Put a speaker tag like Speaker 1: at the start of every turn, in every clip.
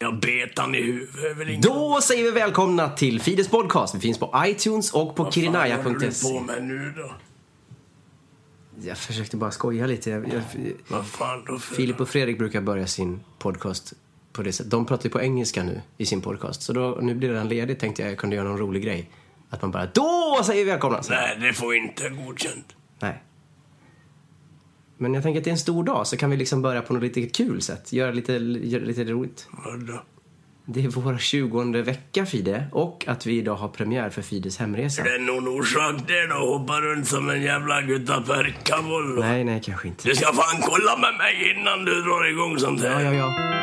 Speaker 1: Jag betar i huvudet. är väl ingen-
Speaker 2: Då säger vi välkomna till Fides podcast. Vi finns på iTunes och på
Speaker 1: Vad fan håller du på
Speaker 2: kirinaya.se.
Speaker 1: med nu då?
Speaker 2: E. Jag försökte bara skoja lite. Jag, jag,
Speaker 1: Vad fan då för...
Speaker 2: Filip och Fredrik brukar börja sin podcast på det sättet. De pratar ju på engelska nu i sin podcast. Så då, nu blir den ledig tänkte jag jag kunde göra någon rolig grej. Att man bara då säger vi välkomna. Så-
Speaker 1: Nej, det får inte godkänt.
Speaker 2: Nej. Men jag tänker att det är en stor dag så kan vi liksom börja på något lite kul sätt. Göra lite, göra lite roligt.
Speaker 1: Vadå?
Speaker 2: Det är vår 20 vecka Fide och att vi idag har premiär för Fides hemresa.
Speaker 1: Det är någon orsak det då, hoppa runt som en jävla guttaperkavollo.
Speaker 2: Nej, nej kanske inte.
Speaker 1: Du ska fan kolla med mig innan du drar igång sånt här.
Speaker 2: Ja, ja, ja.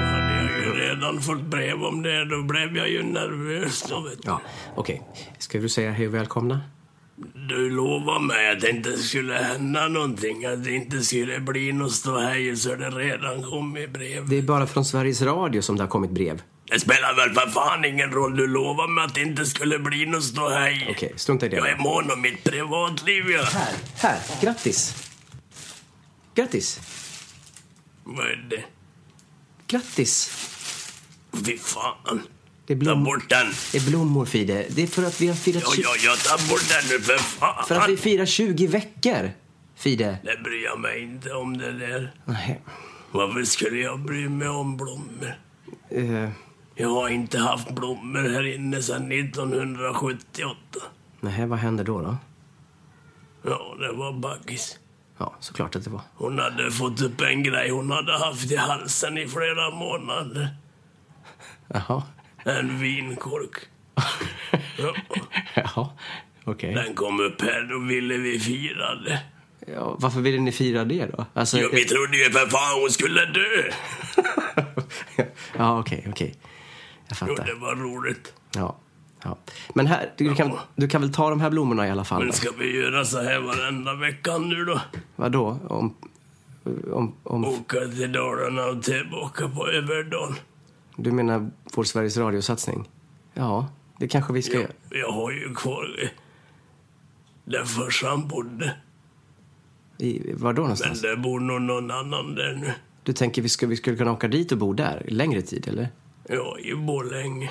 Speaker 1: Då hade jag ju redan fått brev om det, då blev jag ju nervös då vet du.
Speaker 2: Ja, okej. Ska du säga hej och välkomna?
Speaker 1: Du lovade mig att det inte skulle hända någonting, att det inte skulle bli något ståhej så det redan kom i brev.
Speaker 2: Det är bara från Sveriges Radio som det har kommit brev.
Speaker 1: Det spelar väl för fan ingen roll, du lovade mig att det inte skulle bli något ståhej.
Speaker 2: Okej, strunta i det.
Speaker 1: Jag är mån om mitt privatliv jag.
Speaker 2: Här, här. Grattis. Grattis.
Speaker 1: Vad är det?
Speaker 2: Grattis.
Speaker 1: Fy fan.
Speaker 2: Det är,
Speaker 1: Ta
Speaker 2: blom...
Speaker 1: bort den.
Speaker 2: det är blommor, Fide. Det är för att vi har firat...
Speaker 1: Ja,
Speaker 2: tju-
Speaker 1: ja, ja, ta bort den nu för fan.
Speaker 2: För att vi firar 20 veckor, Fide.
Speaker 1: Det bryr jag mig inte om det där.
Speaker 2: Nej.
Speaker 1: Varför skulle jag bry mig om blommor?
Speaker 2: eh,
Speaker 1: Jag har inte haft blommor här inne sedan 1978.
Speaker 2: nej, vad händer då? då?
Speaker 1: Ja, det var Baggis.
Speaker 2: Ja, såklart att det var.
Speaker 1: Hon hade fått upp en grej hon hade haft i halsen i flera månader.
Speaker 2: Jaha.
Speaker 1: En vinkork. Ja,
Speaker 2: Jaha, okej.
Speaker 1: den kom upp här, då ville vi fira det.
Speaker 2: Ja, varför ville ni fira det då? Alltså,
Speaker 1: Jo, vi trodde ju för fan hon skulle dö.
Speaker 2: ja, okej, okej. Jag
Speaker 1: Jo, det
Speaker 2: fattar.
Speaker 1: var roligt.
Speaker 2: Ja. Ja. Men här, du kan, du kan väl ta de här blommorna i alla fall?
Speaker 1: Men ska vi göra så här varenda vecka nu då?
Speaker 2: Vadå? Om, om, om,
Speaker 1: Åka till Dalarna och tillbaka på överdagen.
Speaker 2: du menar vår Sveriges radiosatsning? Ja, det kanske vi ska
Speaker 1: Jag,
Speaker 2: göra.
Speaker 1: jag har ju kvar eh, där farsan bodde.
Speaker 2: I, var då
Speaker 1: Men
Speaker 2: någonstans?
Speaker 1: det bor nog någon annan där nu.
Speaker 2: Du tänker vi skulle, vi skulle kunna åka dit och bo där längre tid, eller?
Speaker 1: Ja, i Borlänge.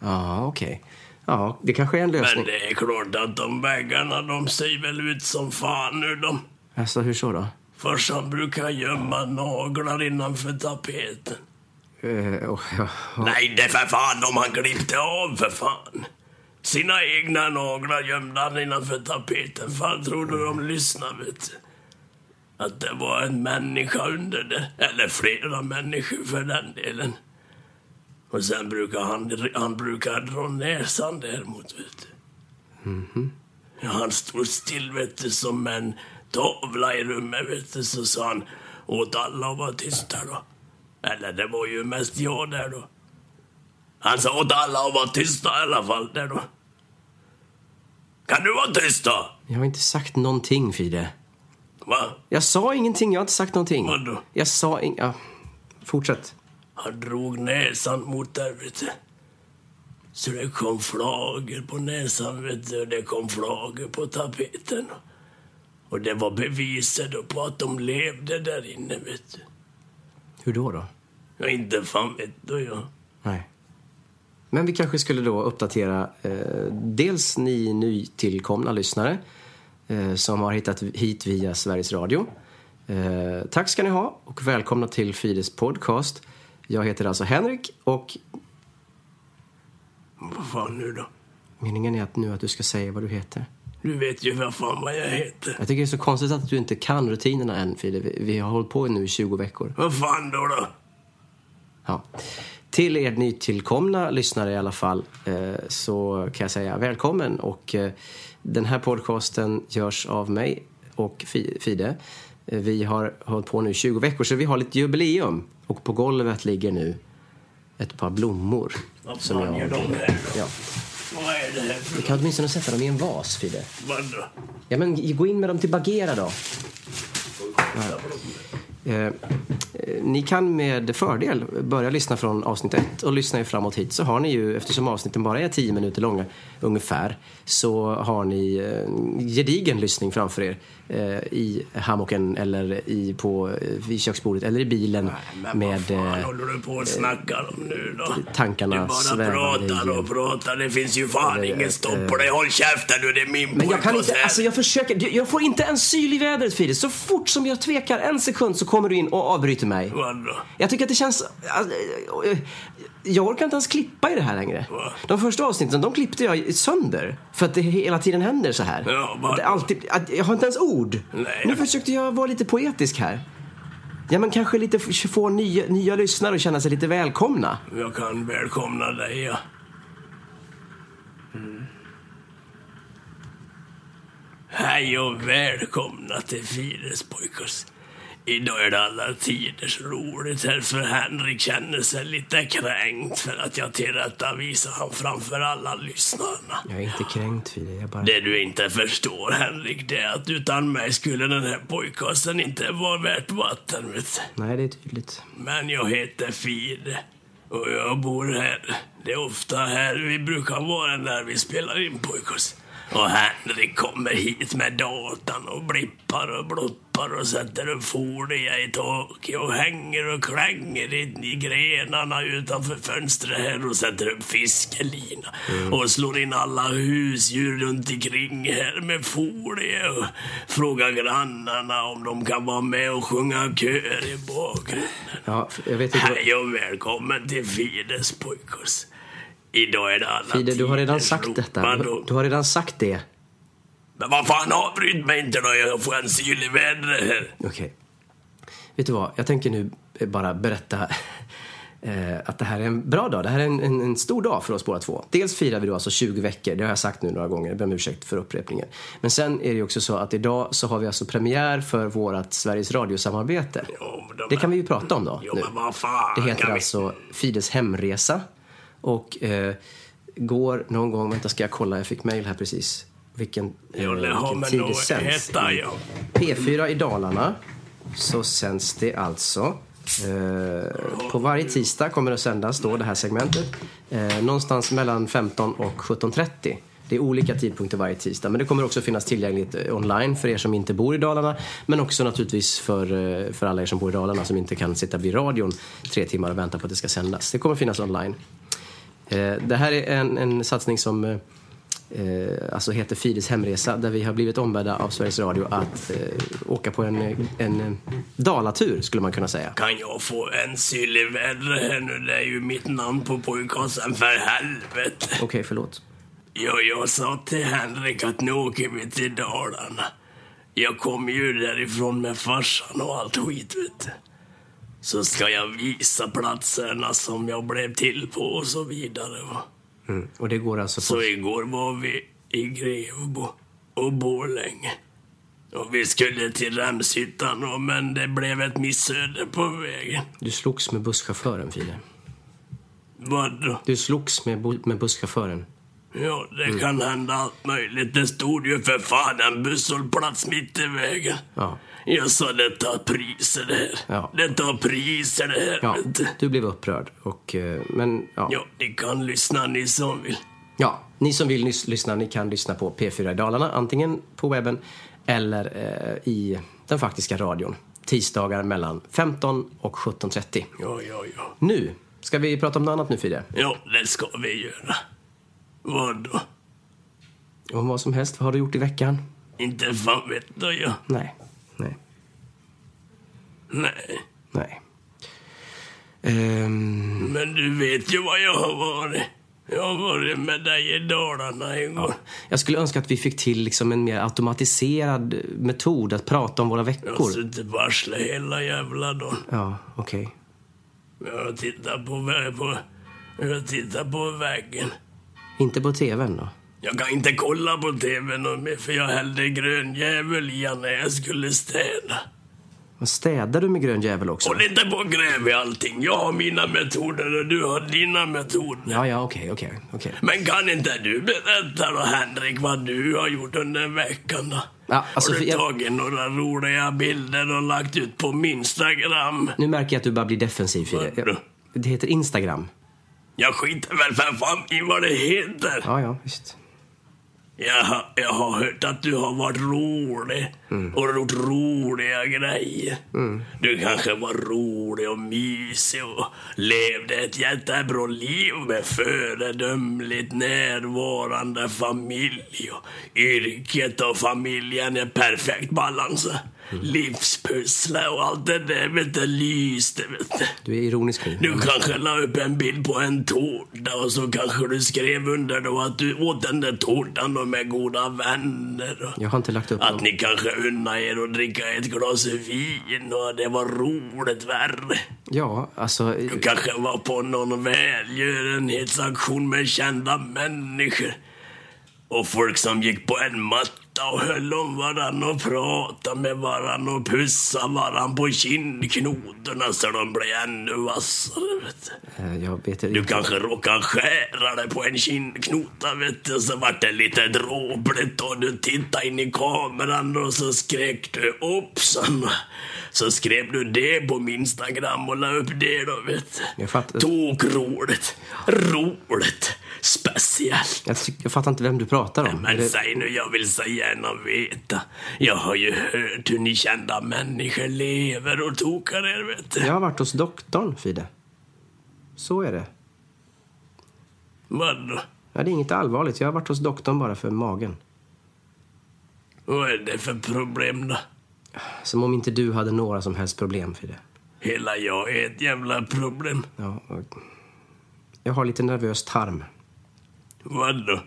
Speaker 2: Ja, okej. Ja, det kanske är en
Speaker 1: Men
Speaker 2: lösning.
Speaker 1: det är klart att de väggarna, de ser väl ut som fan nu de.
Speaker 2: Alltså, hur så då?
Speaker 1: Farsan brukar gömma naglar innanför tapeten.
Speaker 2: Eh, och, ja, ja.
Speaker 1: Nej, det är för fan om han klippte av för fan. Sina egna naglar gömde han innanför tapeten. Fan trodde de lyssnade vet du. Att det var en människa under det. Eller flera människor för den delen. Och sen brukar han, han brukar dra näsan däremot vet du. Ja, han stod still vet du som en tavla i rummet vet du. Så sa han åt alla att vara tysta då. Eller det var ju mest jag där då. Han sa åt alla att vara tysta i alla fall där då. Kan du vara tyst då?
Speaker 2: Jag har inte sagt någonting, Fide.
Speaker 1: Va?
Speaker 2: Jag sa ingenting, jag har inte sagt någonting.
Speaker 1: Vadå?
Speaker 2: Jag sa inget... Ja. Fortsätt.
Speaker 1: Han drog näsan mot där vet du. Så det kom flagor på näsan, vet du. Det kom flagor på tapeten. Och det var beviset då på att de levde där inne, vet du.
Speaker 2: Hur då då?
Speaker 1: Ja, inte fan vet du, jag.
Speaker 2: Nej. Men vi kanske skulle då uppdatera eh, dels ni nytillkomna lyssnare eh, som har hittat hit via Sveriges Radio. Eh, tack ska ni ha och välkomna till Fides podcast. Jag heter alltså Henrik och
Speaker 1: Vad fan nu då?
Speaker 2: meningen är att nu att du ska säga vad du heter.
Speaker 1: Du vet ju vad fan vad jag heter.
Speaker 2: Jag tycker det är så konstigt att du inte kan rutinerna än Fide. Vi, vi har hållit på nu i 20 veckor.
Speaker 1: Vad fan då då?
Speaker 2: Ja. Till er nytillkomna lyssnare i alla fall eh, så kan jag säga välkommen. Och, eh, den här podcasten görs av mig och Fi- Fide. Eh, Vi har hållit på nu i 20 veckor så vi har lite jubileum. Och på golvet ligger nu ett par blommor.
Speaker 1: Vad fan gör de här då?
Speaker 2: Ja.
Speaker 1: Vad är det här för
Speaker 2: Du kan åtminstone sätta dem i en vas, Fide.
Speaker 1: vad då?
Speaker 2: Ja, men gå in med dem till Bagheera då. Eh, eh, Ni kan med fördel börja lyssna från avsnitt ett och lyssna er framåt hit så har ni ju, eftersom avsnitten bara är 10 minuter långa ungefär, så har ni eh, en gedigen lyssning framför er eh, i hammocken eller i, på, eh, vid köksbordet eller i bilen
Speaker 1: Men vad
Speaker 2: med...
Speaker 1: fan
Speaker 2: eh,
Speaker 1: håller du på och snackar om nu då?
Speaker 2: tankarna
Speaker 1: Du bara
Speaker 2: svävar
Speaker 1: pratar
Speaker 2: i- eh,
Speaker 1: och pratar. Det finns ju fan ingen stopp på dig. Håll käften nu, det är min
Speaker 2: Men jag kan
Speaker 1: podcast
Speaker 2: inte,
Speaker 1: här.
Speaker 2: alltså jag försöker, jag- jag får inte en syl i vädret Fide. Så fort som jag tvekar en sekund så kommer du in och avbryter mig.
Speaker 1: Vad då?
Speaker 2: Jag tycker att det känns... alltså, eh, Jag orkar inte ens klippa i det här längre.
Speaker 1: Va?
Speaker 2: De första avsnitten, de klippte jag sönder. För att det hela tiden händer så här.
Speaker 1: Ja, va?
Speaker 2: Att det alltid, att jag har inte ens ord.
Speaker 1: Nej.
Speaker 2: Nu försökte jag vara lite poetisk här. Ja, men kanske lite f- få nya, nya lyssnare att känna sig lite välkomna.
Speaker 1: Jag kan välkomna dig, ja. Mm. Hej och välkomna till Fides pojkars. Idag är det alla tiders roligt här för Henrik känner sig lite kränkt för att jag tillrättavisar han framför alla lyssnarna.
Speaker 2: Jag är inte kränkt Fide, jag bara...
Speaker 1: Det du inte förstår Henrik, det är att utan mig skulle den här pojkasen inte vara värt vatten, vet du.
Speaker 2: Nej, det är tydligt.
Speaker 1: Men jag heter Fide och jag bor här. Det är ofta här vi brukar vara när vi spelar in pojkars. Och Henrik kommer hit med datan och blippar och bloppar och sätter upp folie i taket och hänger och klänger i, i grenarna utanför fönstret här och sätter upp fiskelina och slår in alla husdjur runt omkring här med folie och frågar grannarna om de kan vara med och sjunga köer i bakgrunden.
Speaker 2: Ja, jag vet inte vad...
Speaker 1: Hej och välkommen till Fides pojkars. Idag är det alla
Speaker 2: Fide, du har redan
Speaker 1: tiders
Speaker 2: sagt detta.
Speaker 1: ropar
Speaker 2: Du,
Speaker 1: och-
Speaker 2: du har redan sagt det.
Speaker 1: Men vad fan, avbryt mig inte då. Jag får en syl i vädret här.
Speaker 2: Okej. Vet du vad? Jag tänker nu bara berätta eh, att det här är en bra dag. Det här är en, en, en stor dag för oss båda två. Dels firar vi då alltså 20 veckor. Det har jag sagt nu några gånger. Jag ber om ursäkt för upprepningen. Men sen är det ju också så att idag så har vi alltså premiär för vårt Sveriges radiosamarbete.
Speaker 1: Jo, men de-
Speaker 2: Det kan vi ju prata om då.
Speaker 1: Jo,
Speaker 2: nu.
Speaker 1: men vad fan.
Speaker 2: Det heter
Speaker 1: kan vi-
Speaker 2: alltså Fides hemresa. Och eh, går någon gång... Vänta, ska jag kolla? Jag fick mejl här precis. Vilken, eh,
Speaker 1: Jo, det har
Speaker 2: vilken
Speaker 1: med
Speaker 2: tid det
Speaker 1: något
Speaker 2: sänds.
Speaker 1: hetta, ja.
Speaker 2: P4 i Dalarna så sänds det alltså. Eh, på varje tisdag kommer det att sändas då det här segmentet. Eh, någonstans mellan 15 och 17.30. Det är olika tidpunkter varje tisdag. Men det kommer också finnas tillgängligt eh, online för er som inte bor i Dalarna. Men också naturligtvis för, eh, för alla er som bor i Dalarna som inte kan sitta vid radion tre timmar och vänta på att det ska sändas. Det kommer finnas online. Eh, Det här är en, en satsning som eh, eh, alltså heter Fides hemresa där vi har blivit ombedda av Sveriges Radio att eh, åka på en, en eh, dalatur skulle man kunna säga.
Speaker 1: Kan jag få en syl i vädret här nu? Det är ju mitt namn på pojkasen, för helvete.
Speaker 2: Okej, förlåt.
Speaker 1: Ja, jag sa till Henrik att nu åker vi till Dalarna. Jag kom ju därifrån med farsan och allt skit, vet du. Så ska jag visa platserna som jag blev till på och så vidare. va.
Speaker 2: Och det går alltså på...
Speaker 1: Så igår var vi i Grevbo och Borlänge. Och vi skulle till Ramshyttan, och- men det blev ett missöde på vägen.
Speaker 2: Du slogs med busschauffören Fide.
Speaker 1: Vadå?
Speaker 2: Du slogs med, bu- med busschauffören.
Speaker 1: Ja, det kan hända allt möjligt. Det stod ju för fan en busshållplats mitt i vägen.
Speaker 2: Ja.
Speaker 1: Jag sa det tar priser det här.
Speaker 2: Ja.
Speaker 1: Det tar priser det här.
Speaker 2: Ja,
Speaker 1: vet du.
Speaker 2: du blev upprörd. Och, eh, men ja.
Speaker 1: ja, ni kan lyssna ni som vill.
Speaker 2: ja. Ni som vill nys- lyssna, ni kan lyssna på P4 i Dalarna. Antingen på webben eller eh, i den faktiska radion. Tisdagar mellan 15 och 17.30.
Speaker 1: Ja, ja, ja.
Speaker 2: Nu ska vi prata om något annat nu Fide.
Speaker 1: Ja, det ska vi göra. Vadå?
Speaker 2: Om vad som helst. Vad har du gjort i veckan?
Speaker 1: Inte fan vet då jag.
Speaker 2: Nej. Nej.
Speaker 1: Nej.
Speaker 2: Nej. Ehm,
Speaker 1: Men du vet ju vad jag har varit. Jag har varit med dig i Dalarna igår.
Speaker 2: jag skulle önska att vi fick till liksom en mer automatiserad metod att prata om våra
Speaker 1: Jag
Speaker 2: veckor.
Speaker 1: har suttit på arslet hela jävla dagen.
Speaker 2: Ja, okej.
Speaker 1: Jag har tittat på, vä- på, jag har tittat på väggen.
Speaker 2: Inte på tvn då?
Speaker 1: Jag kan inte kolla på TV något mer för jag hällde grönjävel i han när jag skulle städa.
Speaker 2: Vad städar du med grön jävel också?
Speaker 1: Håll inte på och gräv i allting. Jag har mina metoder och du har dina metoder.
Speaker 2: Ja, ja, okej, okej, okej.
Speaker 1: Men kan inte du berätta då Henrik vad du har gjort under veckan då?
Speaker 2: Ja, alltså,
Speaker 1: har
Speaker 2: för
Speaker 1: du
Speaker 2: jag-
Speaker 1: tagit några roliga bilder och lagt ut på min Instagram?
Speaker 2: Nu märker jag att du bara blir defensiv, Fide.
Speaker 1: Vadå?
Speaker 2: Jag- Det heter Instagram.
Speaker 1: Jag skiter väl för fan i vad det heter.
Speaker 2: Ja, ja, visst.
Speaker 1: Jag, har- jag har hört att du har varit rolig och gjort roliga grejer. Du kanske var rolig och mysig och levde ett jättebra liv med föredömligt närvarande familj. Och yrket och familjen är perfekt balanserade. Livspussle och allt det där vet du, lyste vet du.
Speaker 2: Du är ironisk nu.
Speaker 1: Du kanske la upp en bild på en tårta och så kanske du skrev under då att du åt den där tårtan då med goda vänner. och
Speaker 2: Jag har inte lagt upp
Speaker 1: Att
Speaker 2: någon.
Speaker 1: ni kanske unnar er att dricka ett glas vin och det var roligt värre.
Speaker 2: Ja, alltså... eh,
Speaker 1: Du kanske var på någon välgörenhetsaktion med kända människor. Och folk som gick på en matta och höll om varann och pratade med varann och pussade varann på kindknotorna så de blev ännu vassare. Vet du.
Speaker 2: eh, Jag vet inte.
Speaker 1: Du kanske råkar skära dig på en kindknota vet du, så vart det lite dråpligt och du tittade in i kameran och så skrek du hoppsan. Så skrev du det på min Instagram och la upp det då vet du.
Speaker 2: Jag fattar.
Speaker 1: Tokroligt, roligt, speciellt.
Speaker 2: Jag, tyck- jag fattar inte vem du pratar om.
Speaker 1: Men
Speaker 2: Är det-
Speaker 1: säg nu, jag vill så gärna veta. Jag har ju hört hur ni kända människor lever och tokar er vet du.
Speaker 2: Jag har varit hos doktorn, Fide. Så är det.
Speaker 1: Vadå?
Speaker 2: Ja, det är inget allvarligt. Jag har varit hos doktorn bara för magen.
Speaker 1: Vad är det för problem då?
Speaker 2: Som om inte du hade några som helst problem, Fide.
Speaker 1: Hela jag är ett jävla problem.
Speaker 2: Ja, och- jag har lite nervös tarm.
Speaker 1: Vadå?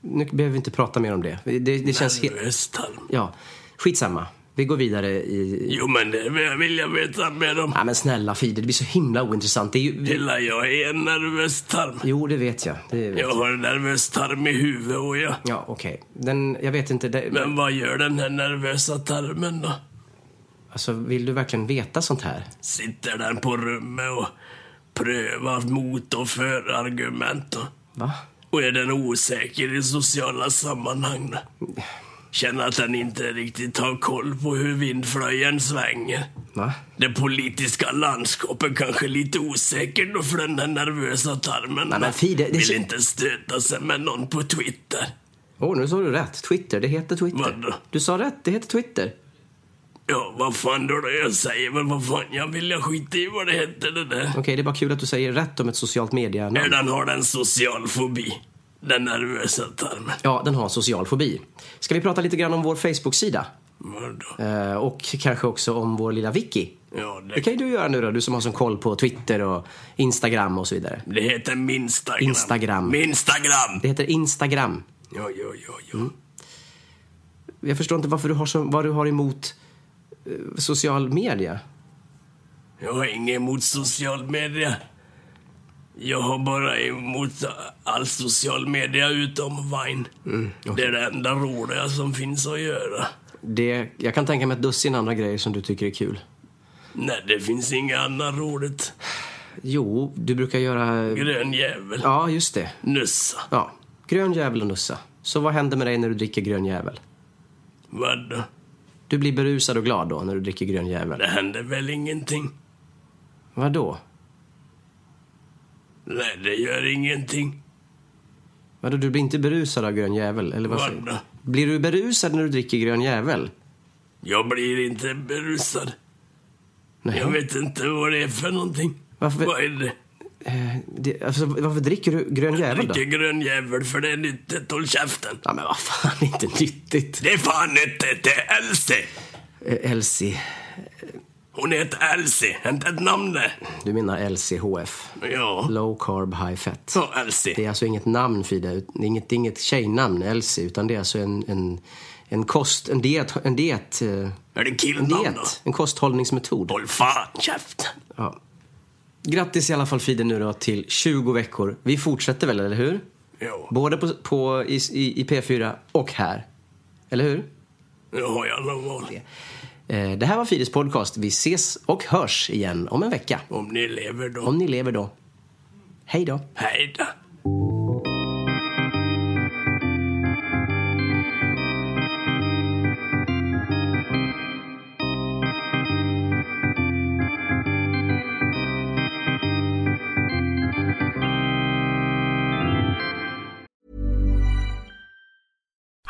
Speaker 2: Nu behöver vi inte prata mer om det. Det, det känns helt...
Speaker 1: Nervöstarm?
Speaker 2: Ja, skitsamma. Vi går vidare i...
Speaker 1: Jo, men det vill jag veta mer om.
Speaker 2: Ja, men snälla Fide, det blir så himla ointressant. Det är ju...
Speaker 1: Hela jag är en nervös tarm.
Speaker 2: Jo, det vet jag. Det vet
Speaker 1: Jag
Speaker 2: jag.
Speaker 1: har en nervös tarm i huvudet och jag.
Speaker 2: Ja, okej. Den, jag vet inte. Det,
Speaker 1: Men vad gör den här nervösa tarmen då?
Speaker 2: Alltså, vill du verkligen veta sånt här?
Speaker 1: Sitter den på rummet och prövar mot och för argument då?
Speaker 2: Va?
Speaker 1: Och är den osäker i sociala sammanhang då? Känner att den inte riktigt har koll på hur vindflöjen svänger.
Speaker 2: Va?
Speaker 1: Det politiska landskapet kanske är lite osäkert då för den där nervösa tarmen.
Speaker 2: Nej, men Fide, det-
Speaker 1: Vill inte stöta sig med någon på Twitter.
Speaker 2: Åh, nu sa du rätt. Twitter. Det heter Twitter.
Speaker 1: Vadå?
Speaker 2: Du sa rätt. Det heter Twitter.
Speaker 1: Ja, vad fan då, då jag säger väl vad fan jag vill. Jag skiter i vad det heter det där.
Speaker 2: Okej, det är bara kul att du säger rätt om ett socialt media-namn.
Speaker 1: Den har den social fobi. Den nervösa tarmen.
Speaker 2: Ja, den har social fobi. Ska vi prata lite grann om vår Facebook-sida?
Speaker 1: Vadå?
Speaker 2: Eh, och kanske också om vår lilla Vicky.
Speaker 1: Ja, det,
Speaker 2: Det kan ju du göra nu då, du som har sån koll på Twitter och Instagram och så vidare.
Speaker 1: det heter Minstagram.
Speaker 2: Instagram.
Speaker 1: Minstagram!
Speaker 2: Det heter Instagram.
Speaker 1: Ja, ja, ja, ja.
Speaker 2: Jag förstår inte varför du har så, vad du har emot eh, social media.
Speaker 1: Jag har inget emot social media. Jag har bara emot all social media utom Vine.
Speaker 2: Mm,
Speaker 1: Det är det enda roliga som finns att göra.
Speaker 2: Det, jag kan tänka mig ett dussin andra grejer som du tycker är kul.
Speaker 1: Nej, det finns inget annat roligt.
Speaker 2: Jo, du brukar göra...
Speaker 1: Grön jävel.
Speaker 2: Ja, just det.
Speaker 1: Nussa.
Speaker 2: Ja. Grön jävel och nussa. Så vad händer med dig när du dricker grön jävel?
Speaker 1: Vad då?
Speaker 2: Du blir berusad och glad då när du dricker grön jävel.
Speaker 1: Det händer väl ingenting?
Speaker 2: Vadå?
Speaker 1: Nej, det gör ingenting.
Speaker 2: Vadå, du blir inte berusad av grön jävel? Eller vad
Speaker 1: Vad
Speaker 2: säger
Speaker 1: då?
Speaker 2: du? Blir du berusad när du dricker grön jävel?
Speaker 1: Jag blir inte berusad.
Speaker 2: Nej.
Speaker 1: Jag vet inte vad det är för någonting.
Speaker 2: Varför-
Speaker 1: Vad är det?
Speaker 2: Det, alltså, varför dricker du grön jävel då?
Speaker 1: Dricker grön jävel för det är nyttigt. Håll käften.
Speaker 2: Ja, men vad fan, inte nyttigt.
Speaker 1: Det är fan nyttigt. Det är Elsie.
Speaker 2: Eh, Elsie.
Speaker 1: Hon heter Elsie. Inte ett namn det.
Speaker 2: Du menar LCHF?
Speaker 1: Ja.
Speaker 2: Low Carb High Fat.
Speaker 1: Så Elsie.
Speaker 2: Det är alltså inget namn Frida, ut- det är inget, det är inget tjejnamn Elsie, utan det är alltså en, en, en kost, en diet, en diet, eh,
Speaker 1: Är det
Speaker 2: en
Speaker 1: killnamn då?
Speaker 2: diet, en kosthållningsmetod.
Speaker 1: Håll fan käften.
Speaker 2: Ja. Grattis i alla fall Frida nu då till 20 veckor. Vi fortsätter väl, eller hur?
Speaker 1: Ja.
Speaker 2: Både på, på, i, i, i P4 och här. Eller hur?
Speaker 1: Nu har jag någon val.
Speaker 2: Eh, det här var Fides podcast. Vi ses och hörs igen om en vecka.
Speaker 1: Om ni lever då.
Speaker 2: Om ni lever då. Hej då.
Speaker 1: Hej då.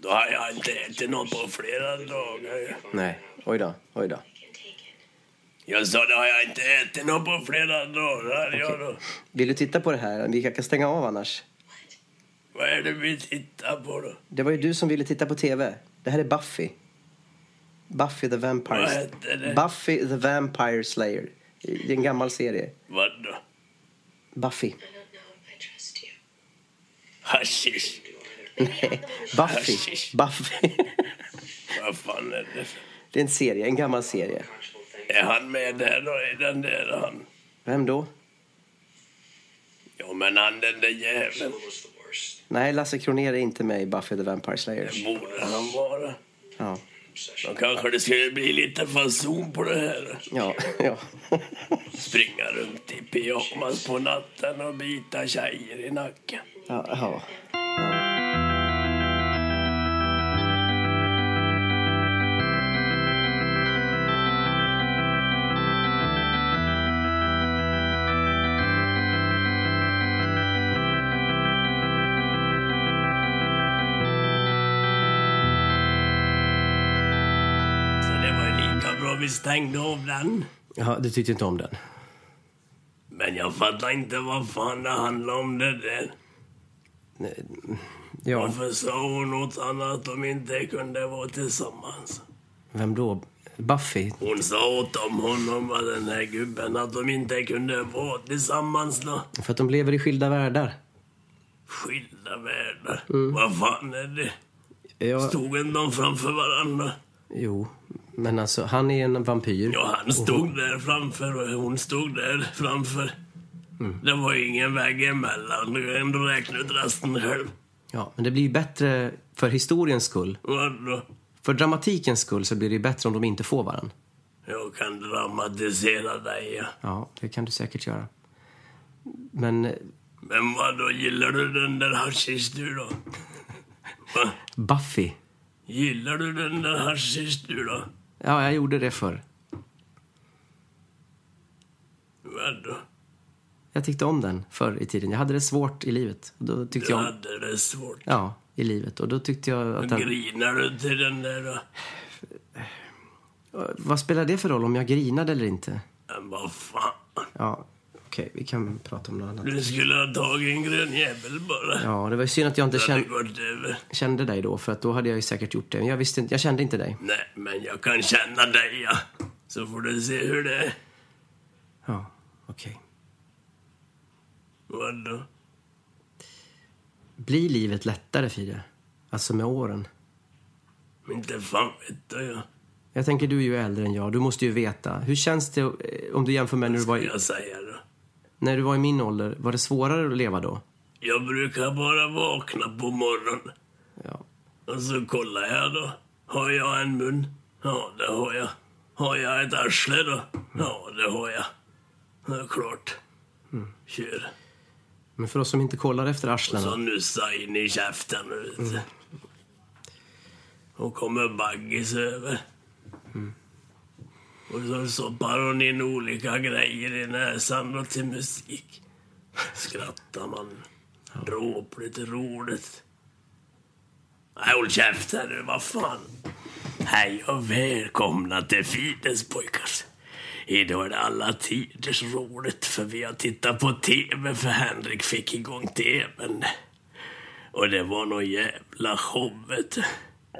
Speaker 1: Då har jag inte ätit något på flera dagar.
Speaker 2: Nej, oj då, oj då.
Speaker 1: Jag sa, då har jag inte ätit något på flera dagar. Ja, då.
Speaker 2: Vill du titta på det här? Vi kan stänga av annars.
Speaker 1: Vad är det vi tittar på då?
Speaker 2: Det var ju du som ville titta på tv. Det här är Buffy. Buffy the Vampire
Speaker 1: Vad heter det?
Speaker 2: Buffy the Vampire Slayer. Det är en gammal serie.
Speaker 1: Vad då?
Speaker 2: Buffy.
Speaker 1: Hashish?
Speaker 2: Nej, Buffy.
Speaker 1: Hashish.
Speaker 2: Buffy.
Speaker 1: Vad fan är det? för-
Speaker 2: Det är en serie, en gammal serie.
Speaker 1: Är han med där då? Är den där han?
Speaker 2: Vem då?
Speaker 1: Ja, men han den där jäveln.
Speaker 2: Nej, Lasse Kronér är inte med i Buffy the Vampire Slayer.
Speaker 1: Det borde han vara.
Speaker 2: Ja,
Speaker 1: Då kanske det skulle bli lite fason på det här.
Speaker 2: ja, ja.
Speaker 1: Springa runt i pyjamas på natten och bita tjejer i nacken.
Speaker 2: ja, ja.
Speaker 1: Så det var ju lika bra vi stängde av den.
Speaker 2: ja du tyckte inte om den?
Speaker 1: Men jag fattar inte vad fan det handlar om det där.
Speaker 2: Ja,
Speaker 1: Varför sa hon åt Anna att de inte kunde vara tillsammans?
Speaker 2: vem då? Buffy?
Speaker 1: Hon sa åt dem, honom och den här gubben, att de inte kunde vara tillsammans då.
Speaker 2: För att de lever i skilda världar.
Speaker 1: Skilda världar. Vad fan är det?
Speaker 2: Ja,
Speaker 1: Stod inte de framför varandra?
Speaker 2: jo, men alltså han är en vampyr.
Speaker 1: Ja, han stod där framför och hon stod där framför. Det var ju ingen väg emellan. Du kan ändå räkna ut resten själv.
Speaker 2: Ja, men det blir ju bättre för historiens skull.
Speaker 1: Vadå?
Speaker 2: För dramatikens skull så blir det ju bättre om de inte får varandra.
Speaker 1: Jag kan dramatisera dig, ja.
Speaker 2: Ja, det kan du säkert göra. Men eh,
Speaker 1: Men vad då gillar du den där hashish du då? Va?
Speaker 2: Buffy.
Speaker 1: Gillar du den där hashish du då?
Speaker 2: Ja, jag gjorde det förr.
Speaker 1: Vad då?
Speaker 2: Jag tyckte om den förr i tiden. Jag hade det svårt i livet. Och Då tyckte
Speaker 1: Du
Speaker 2: jag om...
Speaker 1: hade det svårt.
Speaker 2: Ja, i livet. Och då tyckte jag att... Den...
Speaker 1: Grinar du till den där då?
Speaker 2: Vad spelar det för roll om jag grinade eller inte?
Speaker 1: Men vad fan.
Speaker 2: Ja, okej, vi kan prata om något annat.
Speaker 1: Du skulle ha tagit en grön jävel bara.
Speaker 2: Ja, det var ju synd att jag inte
Speaker 1: Det hade
Speaker 2: kände,
Speaker 1: gått över.
Speaker 2: kände dig då, för att då hade jag ju säkert gjort det. Men jag, visste inte, jag kände inte dig.
Speaker 1: Nej, men jag kan känna dig ja. Så får du se hur det är.
Speaker 2: Ja, okej.
Speaker 1: Vadå?
Speaker 2: Blir livet lättare, Fide? Alltså med åren?
Speaker 1: Inte fan vet jag.
Speaker 2: Jag tänker, du är ju äldre än jag. Du måste ju veta. Hur känns det eh, om du jämför med när du var
Speaker 1: Vad
Speaker 2: i,
Speaker 1: jag säger då.
Speaker 2: när du var i min ålder? Var det svårare att leva då?
Speaker 1: Jag brukar bara vakna på morgonen.
Speaker 2: Ja.
Speaker 1: Och så kollar jag då. Har jag en mun? Ja, det har jag. Har jag ett arsle då? Ja, det har jag. Det är klart.
Speaker 2: Mm.
Speaker 1: Kör.
Speaker 2: Men för oss som inte kollar efter arslena.
Speaker 1: Så nu sa in i käften, vet du. Och kommer Baggis över. Och så stoppar hon in olika grejer i näsan och till musik. Skrattar man. Dråpligt roligt. Nej, håll käften nu, vad fan. Hej och välkomna till Fides pojkar. Idag är det alla tiders roligt för vi har tittat på TV för Henrik fick igång TVn. Och det var någon jävla show vet du.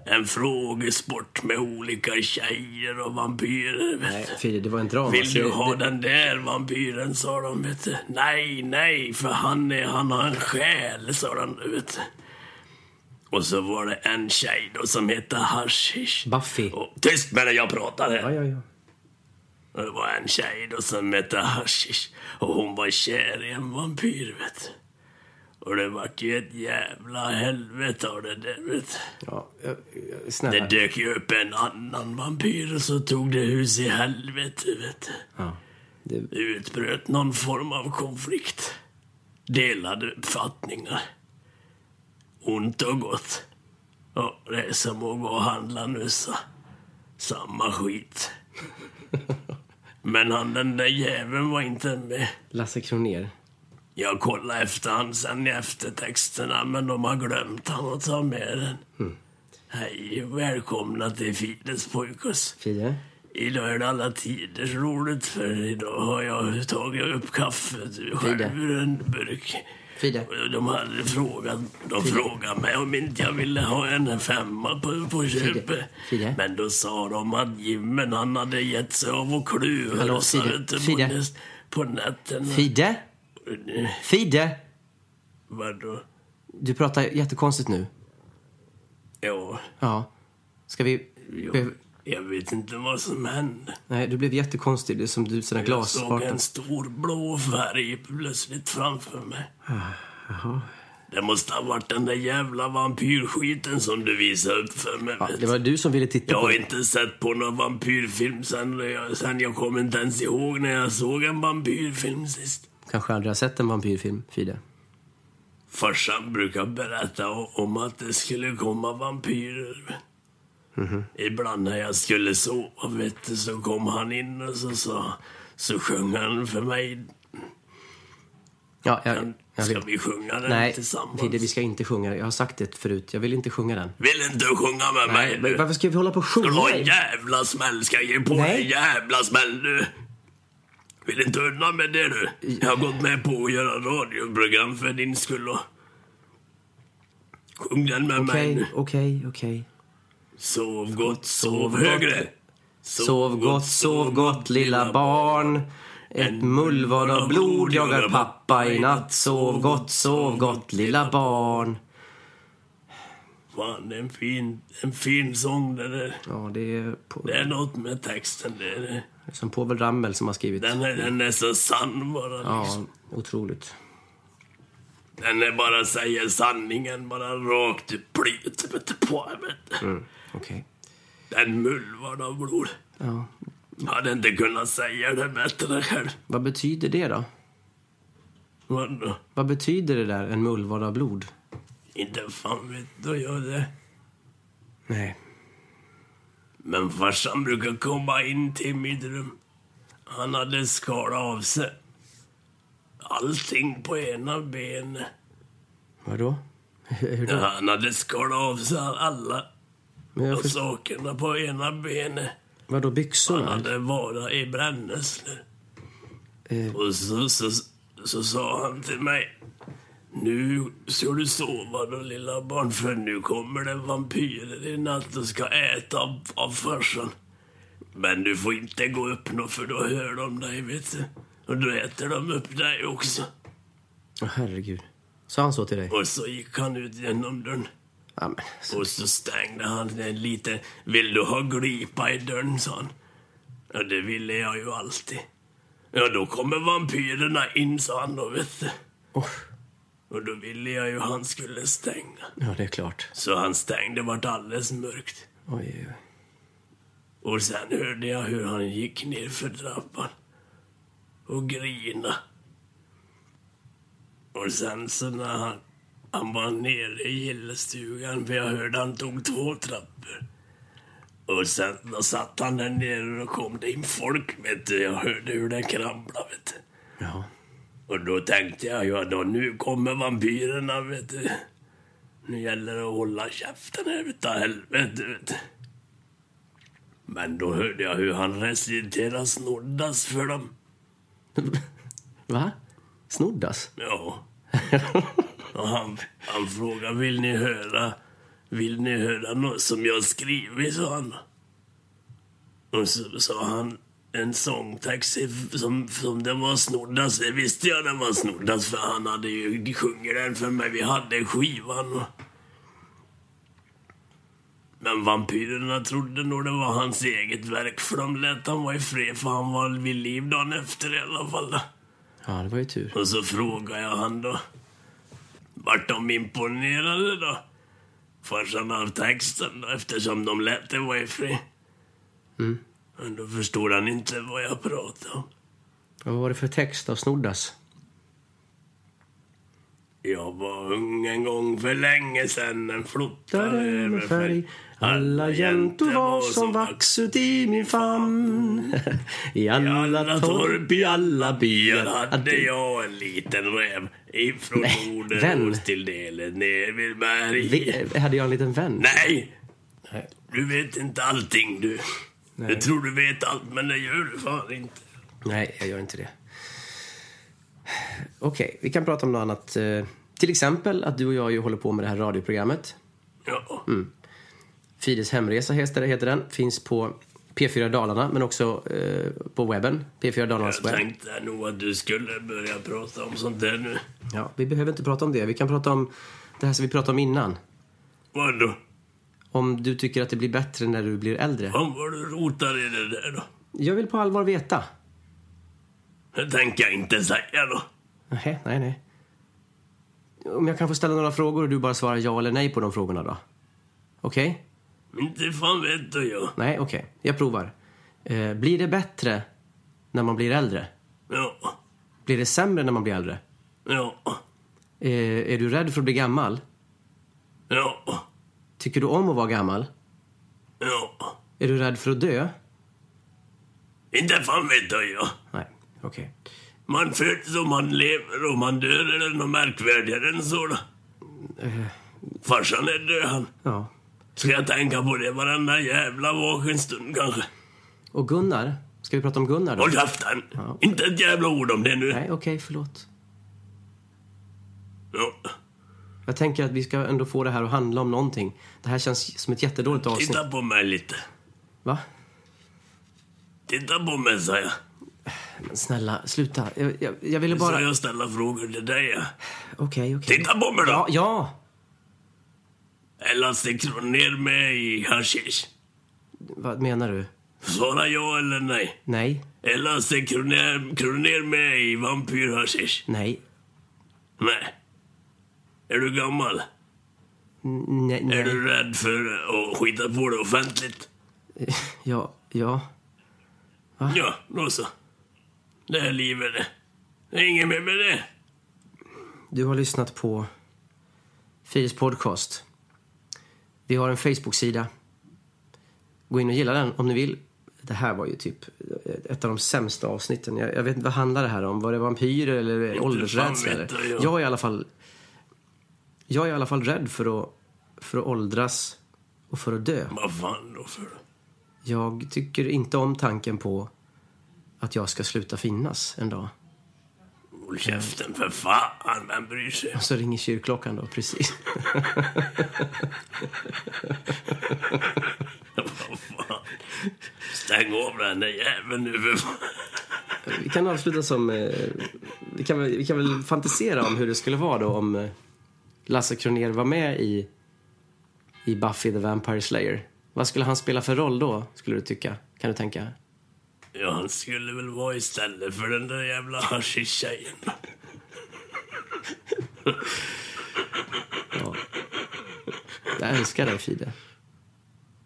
Speaker 1: En frågesport med olika tjejer och vampyrer vet
Speaker 2: Nej,
Speaker 1: du.
Speaker 2: Fide, det var en drama.
Speaker 1: Vill du
Speaker 2: Så-
Speaker 1: ha
Speaker 2: det-
Speaker 1: den där vampyren, sa de. Vet du. Nej, nej, för han, är, han har en själ, sa de. Vet du. Och så var det en tjej då som hette Hashish.
Speaker 2: Buffy.
Speaker 1: Och, tyst med dig, jag pratar här.
Speaker 2: Ja, ja, ja.
Speaker 1: Och Det var en tjej då som hette Hashish och hon var kär i en vampyr, vet du. Och det vart ju ett jävla helvete av det där, vet du.
Speaker 2: ja. jag- jag-
Speaker 1: Det
Speaker 2: Snälla.
Speaker 1: dök ju upp en annan vampyr och så tog det hus i helvete, vet du.
Speaker 2: Ja. Det-
Speaker 1: Det utbröt någon form av konflikt. Delade uppfattningar. Ont och gott. Ja, det är som att gå och handla nu, så. Samma skit. Men han den där jäveln var inte med.
Speaker 2: Lasse Kronér.
Speaker 1: Jag kollade efter han sen i eftertexterna, men de har glömt han att ta med den. Hej och välkomna till Fides pojkars.
Speaker 2: Fide?
Speaker 1: Idag är det alla tiders roligt för idag har jag tagit upp kaffet
Speaker 2: Fide.
Speaker 1: själv ur en burk.
Speaker 2: Fide?
Speaker 1: Och De hade frågat, de frågade mig om inte jag ville ha en femma på, på köpet.
Speaker 2: Fide.
Speaker 1: Men då sa de att Jimmen han hade gett sig av och
Speaker 2: Hallå,
Speaker 1: kluvade sig
Speaker 2: Fide.
Speaker 1: ute på,
Speaker 2: Fide.
Speaker 1: näs- på nätterna.
Speaker 2: Fide? Fide?
Speaker 1: Vadå?
Speaker 2: Du pratar jättekonstigt nu.
Speaker 1: Ja,
Speaker 2: Ja. Ska vi...
Speaker 1: jag, jag vet inte vad som hände.
Speaker 2: Nej, du blev jättekonstig. Det är som du, sådana
Speaker 1: Jag såg
Speaker 2: glasfartor.
Speaker 1: en stor blå färg plötsligt framför mig. Det måste ha varit den där jävla vampyrskiten som du visade upp för mig.
Speaker 2: Ja,
Speaker 1: vet
Speaker 2: det var
Speaker 1: du.
Speaker 2: du som ville titta
Speaker 1: Jag
Speaker 2: på
Speaker 1: har inte sett på någon vampyrfilm sen jag, sen jag kommer inte ens ihåg när jag såg en vampyrfilm sist.
Speaker 2: Kanske aldrig har sett en vampyrfilm, Fide.
Speaker 1: Farsan brukar berätta o- om att det skulle komma vampyrer.
Speaker 2: Mhm.
Speaker 1: Ibland när jag skulle sova vet du, så kom han in och så, sa, så sjöng han för mig
Speaker 2: Ja, jag,
Speaker 1: Men
Speaker 2: jag
Speaker 1: Ska
Speaker 2: vill.
Speaker 1: vi sjunga den
Speaker 2: Nej,
Speaker 1: tillsammans?
Speaker 2: Fide, vi ska inte sjunga. Jag har sagt det förut. Jag vill inte sjunga den.
Speaker 1: Vill inte du sjunga med mig
Speaker 2: Nej,
Speaker 1: nu?
Speaker 2: men varför ska vi hålla på och
Speaker 1: Ska
Speaker 2: sjunga?
Speaker 1: du ha en jävla smäll? Ska jag ge på
Speaker 2: Nej.
Speaker 1: dig en jävla smäll nu? Vill inte undan med det du? Jag har gått med på att göra radioprogram för din skull och... Sjung den med mig nu.
Speaker 2: Okej, okej, okej.
Speaker 1: Sov gott, sov högre.
Speaker 2: Sov gott, sov gott lilla barn. Ett mullvad av blod jagar pappa i natt. Sov gott, sov gott lilla barn.
Speaker 1: Fan, det är en fin, en fin sång det där.
Speaker 2: Ja, det är, på,
Speaker 1: Det är något med texten det är det.
Speaker 2: som Povel Ramel som har skrivit.
Speaker 1: Den är, den är så sann bara.
Speaker 2: Ja,
Speaker 1: liksom.
Speaker 2: otroligt.
Speaker 1: Den är bara säger sanningen, bara rakt i plyet. vet du, på mig, vet du.
Speaker 2: Mm, Okej.
Speaker 1: Den mullvar av blod.
Speaker 2: Ja.
Speaker 1: Hade inte kunnat säga det bättre själv.
Speaker 2: Vad betyder det då?
Speaker 1: Vadå?
Speaker 2: Vad betyder det där, en mullvad av blod?
Speaker 1: Inte fan vet då jag det.
Speaker 2: Nej.
Speaker 1: Men farsan brukar komma in till mitt rum. Han hade skalat av sig allting på ena benet.
Speaker 2: Vadå? Hur då?
Speaker 1: Han hade skalat av sig alla
Speaker 2: Men jag förstår,
Speaker 1: sakerna på ena benet.
Speaker 2: vadå
Speaker 1: Han
Speaker 2: byxorna?
Speaker 1: hade varit i brännässlor.
Speaker 2: Eh.
Speaker 1: Och så, så, så sa han till mig. Nu ska du sova då lilla barn för nu kommer det vampyrer i natt och ska äta av, av farsan. Men du får inte gå upp nå för då hör de dig vet du. Och då äter de upp dig också.
Speaker 2: Åh, herregud. Sa han så till dig?
Speaker 1: Och så gick han ut genom dörren.
Speaker 2: Ja, men. så-
Speaker 1: Och så stängde han den lite. Vill du ha glipa i dörren, sa han. Ja, det ville jag ju alltid. Ja, då kommer vampyrerna in, sa han då, vet du.
Speaker 2: Åh,
Speaker 1: Och då ville jag ju han skulle stänga.
Speaker 2: ja, det är klart.
Speaker 1: Så han stängde, vart alldeles mörkt.
Speaker 2: Oj, oj, oj.
Speaker 1: Och sen hörde jag hur han gick ner för trappan och grina. Och sen så när han, han var nere i gillestugan, för jag hörde han tog två trappor. Och sen då satt han där nere och kom det in folk, vet du. Jag hörde hur det kramlade, vet du.
Speaker 2: Ja.
Speaker 1: Och då tänkte jag, ja då nu kommer vampyrerna, vet du. Nu gäller det att hålla käften här utav helvete, vet du. Men då hörde jag hur han reciterade snoddas för dem.
Speaker 2: Va? Snoddas?
Speaker 1: Ja. Och han, han frågade, vill ni höra, vill ni höra något som jag skrivit, sa han. Och så sa han en sångtext i- som, som den var snoddas. Det visste jag den var snoddas för han hade ju sjungit den för mig. Vi hade skivan och... Men vampyrerna trodde nog det var hans eget verk för de lät han vara i fred för han var vid liv dagen efter i alla fall.
Speaker 2: Ja, det var ju tur.
Speaker 1: Och så frågade jag han då. Vart de imponerade då? Farsan av texten då, eftersom de lät det vara ifri.
Speaker 2: Mm.
Speaker 1: Men då förstod han inte vad jag pratade om.
Speaker 2: Vad var det för text av Snoddas?
Speaker 1: Jag var ung en gång för länge sen en flotta
Speaker 2: Där över färg Alla jäntor var som vax ut i min famn I alla torp, i alla
Speaker 1: Där
Speaker 2: byar
Speaker 1: hade jag en liten räv ifrån
Speaker 2: Nej, vän.
Speaker 1: Nordenros till delen ner vid berg.
Speaker 2: Vi, hade jag en liten vän?
Speaker 1: Nej!
Speaker 2: Nej.
Speaker 1: Du vet inte allting du.
Speaker 2: Nej.
Speaker 1: Du tror du vet allt, men det gör du fan inte.
Speaker 2: Nej, jag gör inte det. Okej, vi kan prata om något annat. Eh, Till exempel att du och jag ju håller på med det här radioprogrammet.
Speaker 1: Ja.
Speaker 2: Mm. Fides hemresa heter det- heter den. Finns på P4 Dalarna, men också eh, på webben. P4 Dalarnas
Speaker 1: Jag
Speaker 2: webb.
Speaker 1: tänkte nog att du skulle börja prata om sånt där nu.
Speaker 2: Ja, vi behöver inte prata om det. Vi kan prata om det här som vi pratade om innan.
Speaker 1: Vadå?
Speaker 2: Om du tycker att det blir bättre när du blir äldre.
Speaker 1: Om vad du rotar i det där då?
Speaker 2: Jag vill på allvar veta.
Speaker 1: Det tänker jag inte säga då.
Speaker 2: Nej, nej, nej. Om jag kan få ställa några frågor och du bara svarar ja eller nej på de frågorna då? Okej?
Speaker 1: Inte fan vet du jag.
Speaker 2: Nej, okej. Jag provar. Eh, blir det bättre när man blir äldre?
Speaker 1: Ja.
Speaker 2: Blir det sämre när man blir äldre?
Speaker 1: Ja.
Speaker 2: Eh, är du rädd för att bli gammal?
Speaker 1: Ja.
Speaker 2: Tycker du om att vara gammal?
Speaker 1: Ja.
Speaker 2: Är du rädd för att dö?
Speaker 1: Inte fan vet du jag.
Speaker 2: Nej, okej.
Speaker 1: Man föds och man lever och man dör. Är det något märkvärdigare än så då?
Speaker 2: Eh.
Speaker 1: Farsan är död han.
Speaker 2: Ja.
Speaker 1: Ska jag tänka på det varenda jävla vaken stund kanske?
Speaker 2: Och Gunnar? Ska vi prata om Gunnar då?
Speaker 1: Håll käften!
Speaker 2: Ja.
Speaker 1: Inte ett jävla ord om det nu.
Speaker 2: Nej, okej, förlåt.
Speaker 1: Ja.
Speaker 2: Jag tänker att vi ska ändå få det här att handla om någonting. Det här känns som ett jättedåligt avsnitt.
Speaker 1: Titta på mig lite.
Speaker 2: Va?
Speaker 1: Titta på mig, sa jag.
Speaker 2: Men snälla, sluta. Jag, jag, jag ville bara...
Speaker 1: Bara... Så
Speaker 2: Okej,
Speaker 1: jag ställer frågor till dig. ja.
Speaker 2: okej.
Speaker 1: Titta på mig då!
Speaker 2: Ja, ja!
Speaker 1: Eller stick ner mig i hashish.
Speaker 2: Vad menar du?
Speaker 1: Svara ja eller nej.
Speaker 2: Nej,
Speaker 1: Eller stick ner, kro ner mig i vampyrhashish.
Speaker 2: nej,
Speaker 1: Nej. Är du gammal?
Speaker 2: nej,
Speaker 1: Är
Speaker 2: nej.
Speaker 1: du rädd för att skita på det offentligt?
Speaker 2: Ja, ja.
Speaker 1: Ja, då så. Det är livet det. Det är inget mer med det.
Speaker 2: Du har lyssnat på Fides podcast. Vi har en Facebook-sida. Gå in och gilla den om ni vill. Det här var ju typ ett av de sämsta avsnitten. Jag, jag vet inte, vad handlar det här om? Var det vampyrer eller åldersrädsla?
Speaker 1: fan vet
Speaker 2: eller?
Speaker 1: jag.
Speaker 2: Jag är i alla fall... Jag är i alla fall rädd för att, för att åldras och för att dö.
Speaker 1: Vad fan då för?
Speaker 2: Jag tycker inte om tanken på att jag ska sluta finnas en dag.
Speaker 1: Håll käften för fan, vem bryr sig?
Speaker 2: Och så ringer kyrkklockan då, precis.
Speaker 1: Vad fan. Stäng av den där jäveln nu för fan.
Speaker 2: Vi kan avsluta som... eh, Vi kan, väl- vi kan väl fantisera om hur det skulle vara då om eh, Lasse Kronér var med i, i Buffy the Vampire Slayer. Vad skulle han spela för roll då, skulle du tycka? Kan du tänka?
Speaker 1: Ja, han skulle väl vara istället för den där jävla haschisch-tjejen.
Speaker 2: Jag älskar dig, Fide.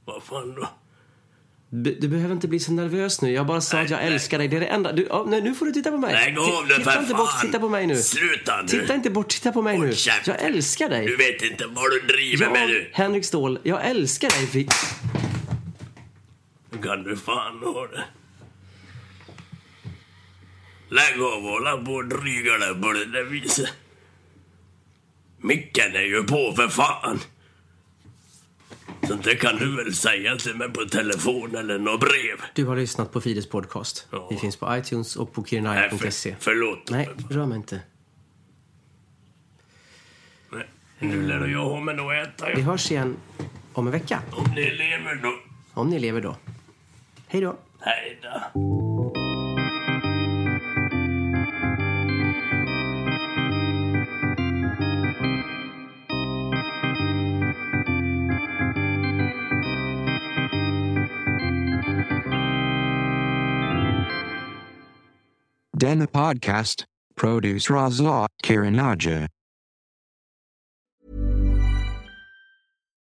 Speaker 1: Vad fan då?
Speaker 2: B- du behöver inte bli så nervös nu. Jag bara sa att jag älskar dig. Det är det enda. Du, ja, nej, nu får du titta på mig.
Speaker 1: Lägg av
Speaker 2: Ti-
Speaker 1: nu
Speaker 2: Titta
Speaker 1: för
Speaker 2: inte
Speaker 1: fan!
Speaker 2: bort, titta på mig nu.
Speaker 1: Sluta nu!
Speaker 2: Titta inte bort, titta på mig nu.
Speaker 1: Håll käften.
Speaker 2: Jag älskar
Speaker 1: Du
Speaker 2: dig.
Speaker 1: vet inte vad du driver med
Speaker 2: Jag,
Speaker 1: nu.
Speaker 2: Henrik Ståhl, jag älskar dig. Fi-
Speaker 1: Nu kan du fan ha det. Lägg av och hålla på och dryga dig på det där viset. Micken är ju på för fan. Så det kan du väl säga till mig på telefon eller något brev.
Speaker 2: Du har lyssnat på Fides podcast.
Speaker 1: Ja.
Speaker 2: Vi finns på iTunes och på
Speaker 1: Nej,
Speaker 2: kirinaya.se.
Speaker 1: för, förlåt.
Speaker 2: Nej, rör mig inte.
Speaker 1: Nej, Nu lär jag ha mig något att äta.
Speaker 2: Vi
Speaker 1: ja.
Speaker 2: hörs igen om en vecka.
Speaker 1: Om ni lever då.
Speaker 2: Om ni lever då. Hej då.
Speaker 1: Hej då.
Speaker 3: Dena Podcast, Produce Raza, Kiranaja.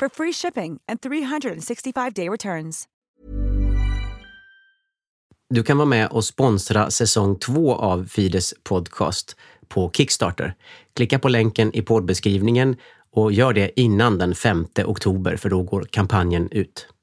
Speaker 4: for free shipping and 365-day returns.
Speaker 2: Du kan vara med och sponsra säsong två av Fides podcast på Kickstarter. Klicka på länken i poddbeskrivningen och gör det innan den 5 oktober för då går kampanjen ut.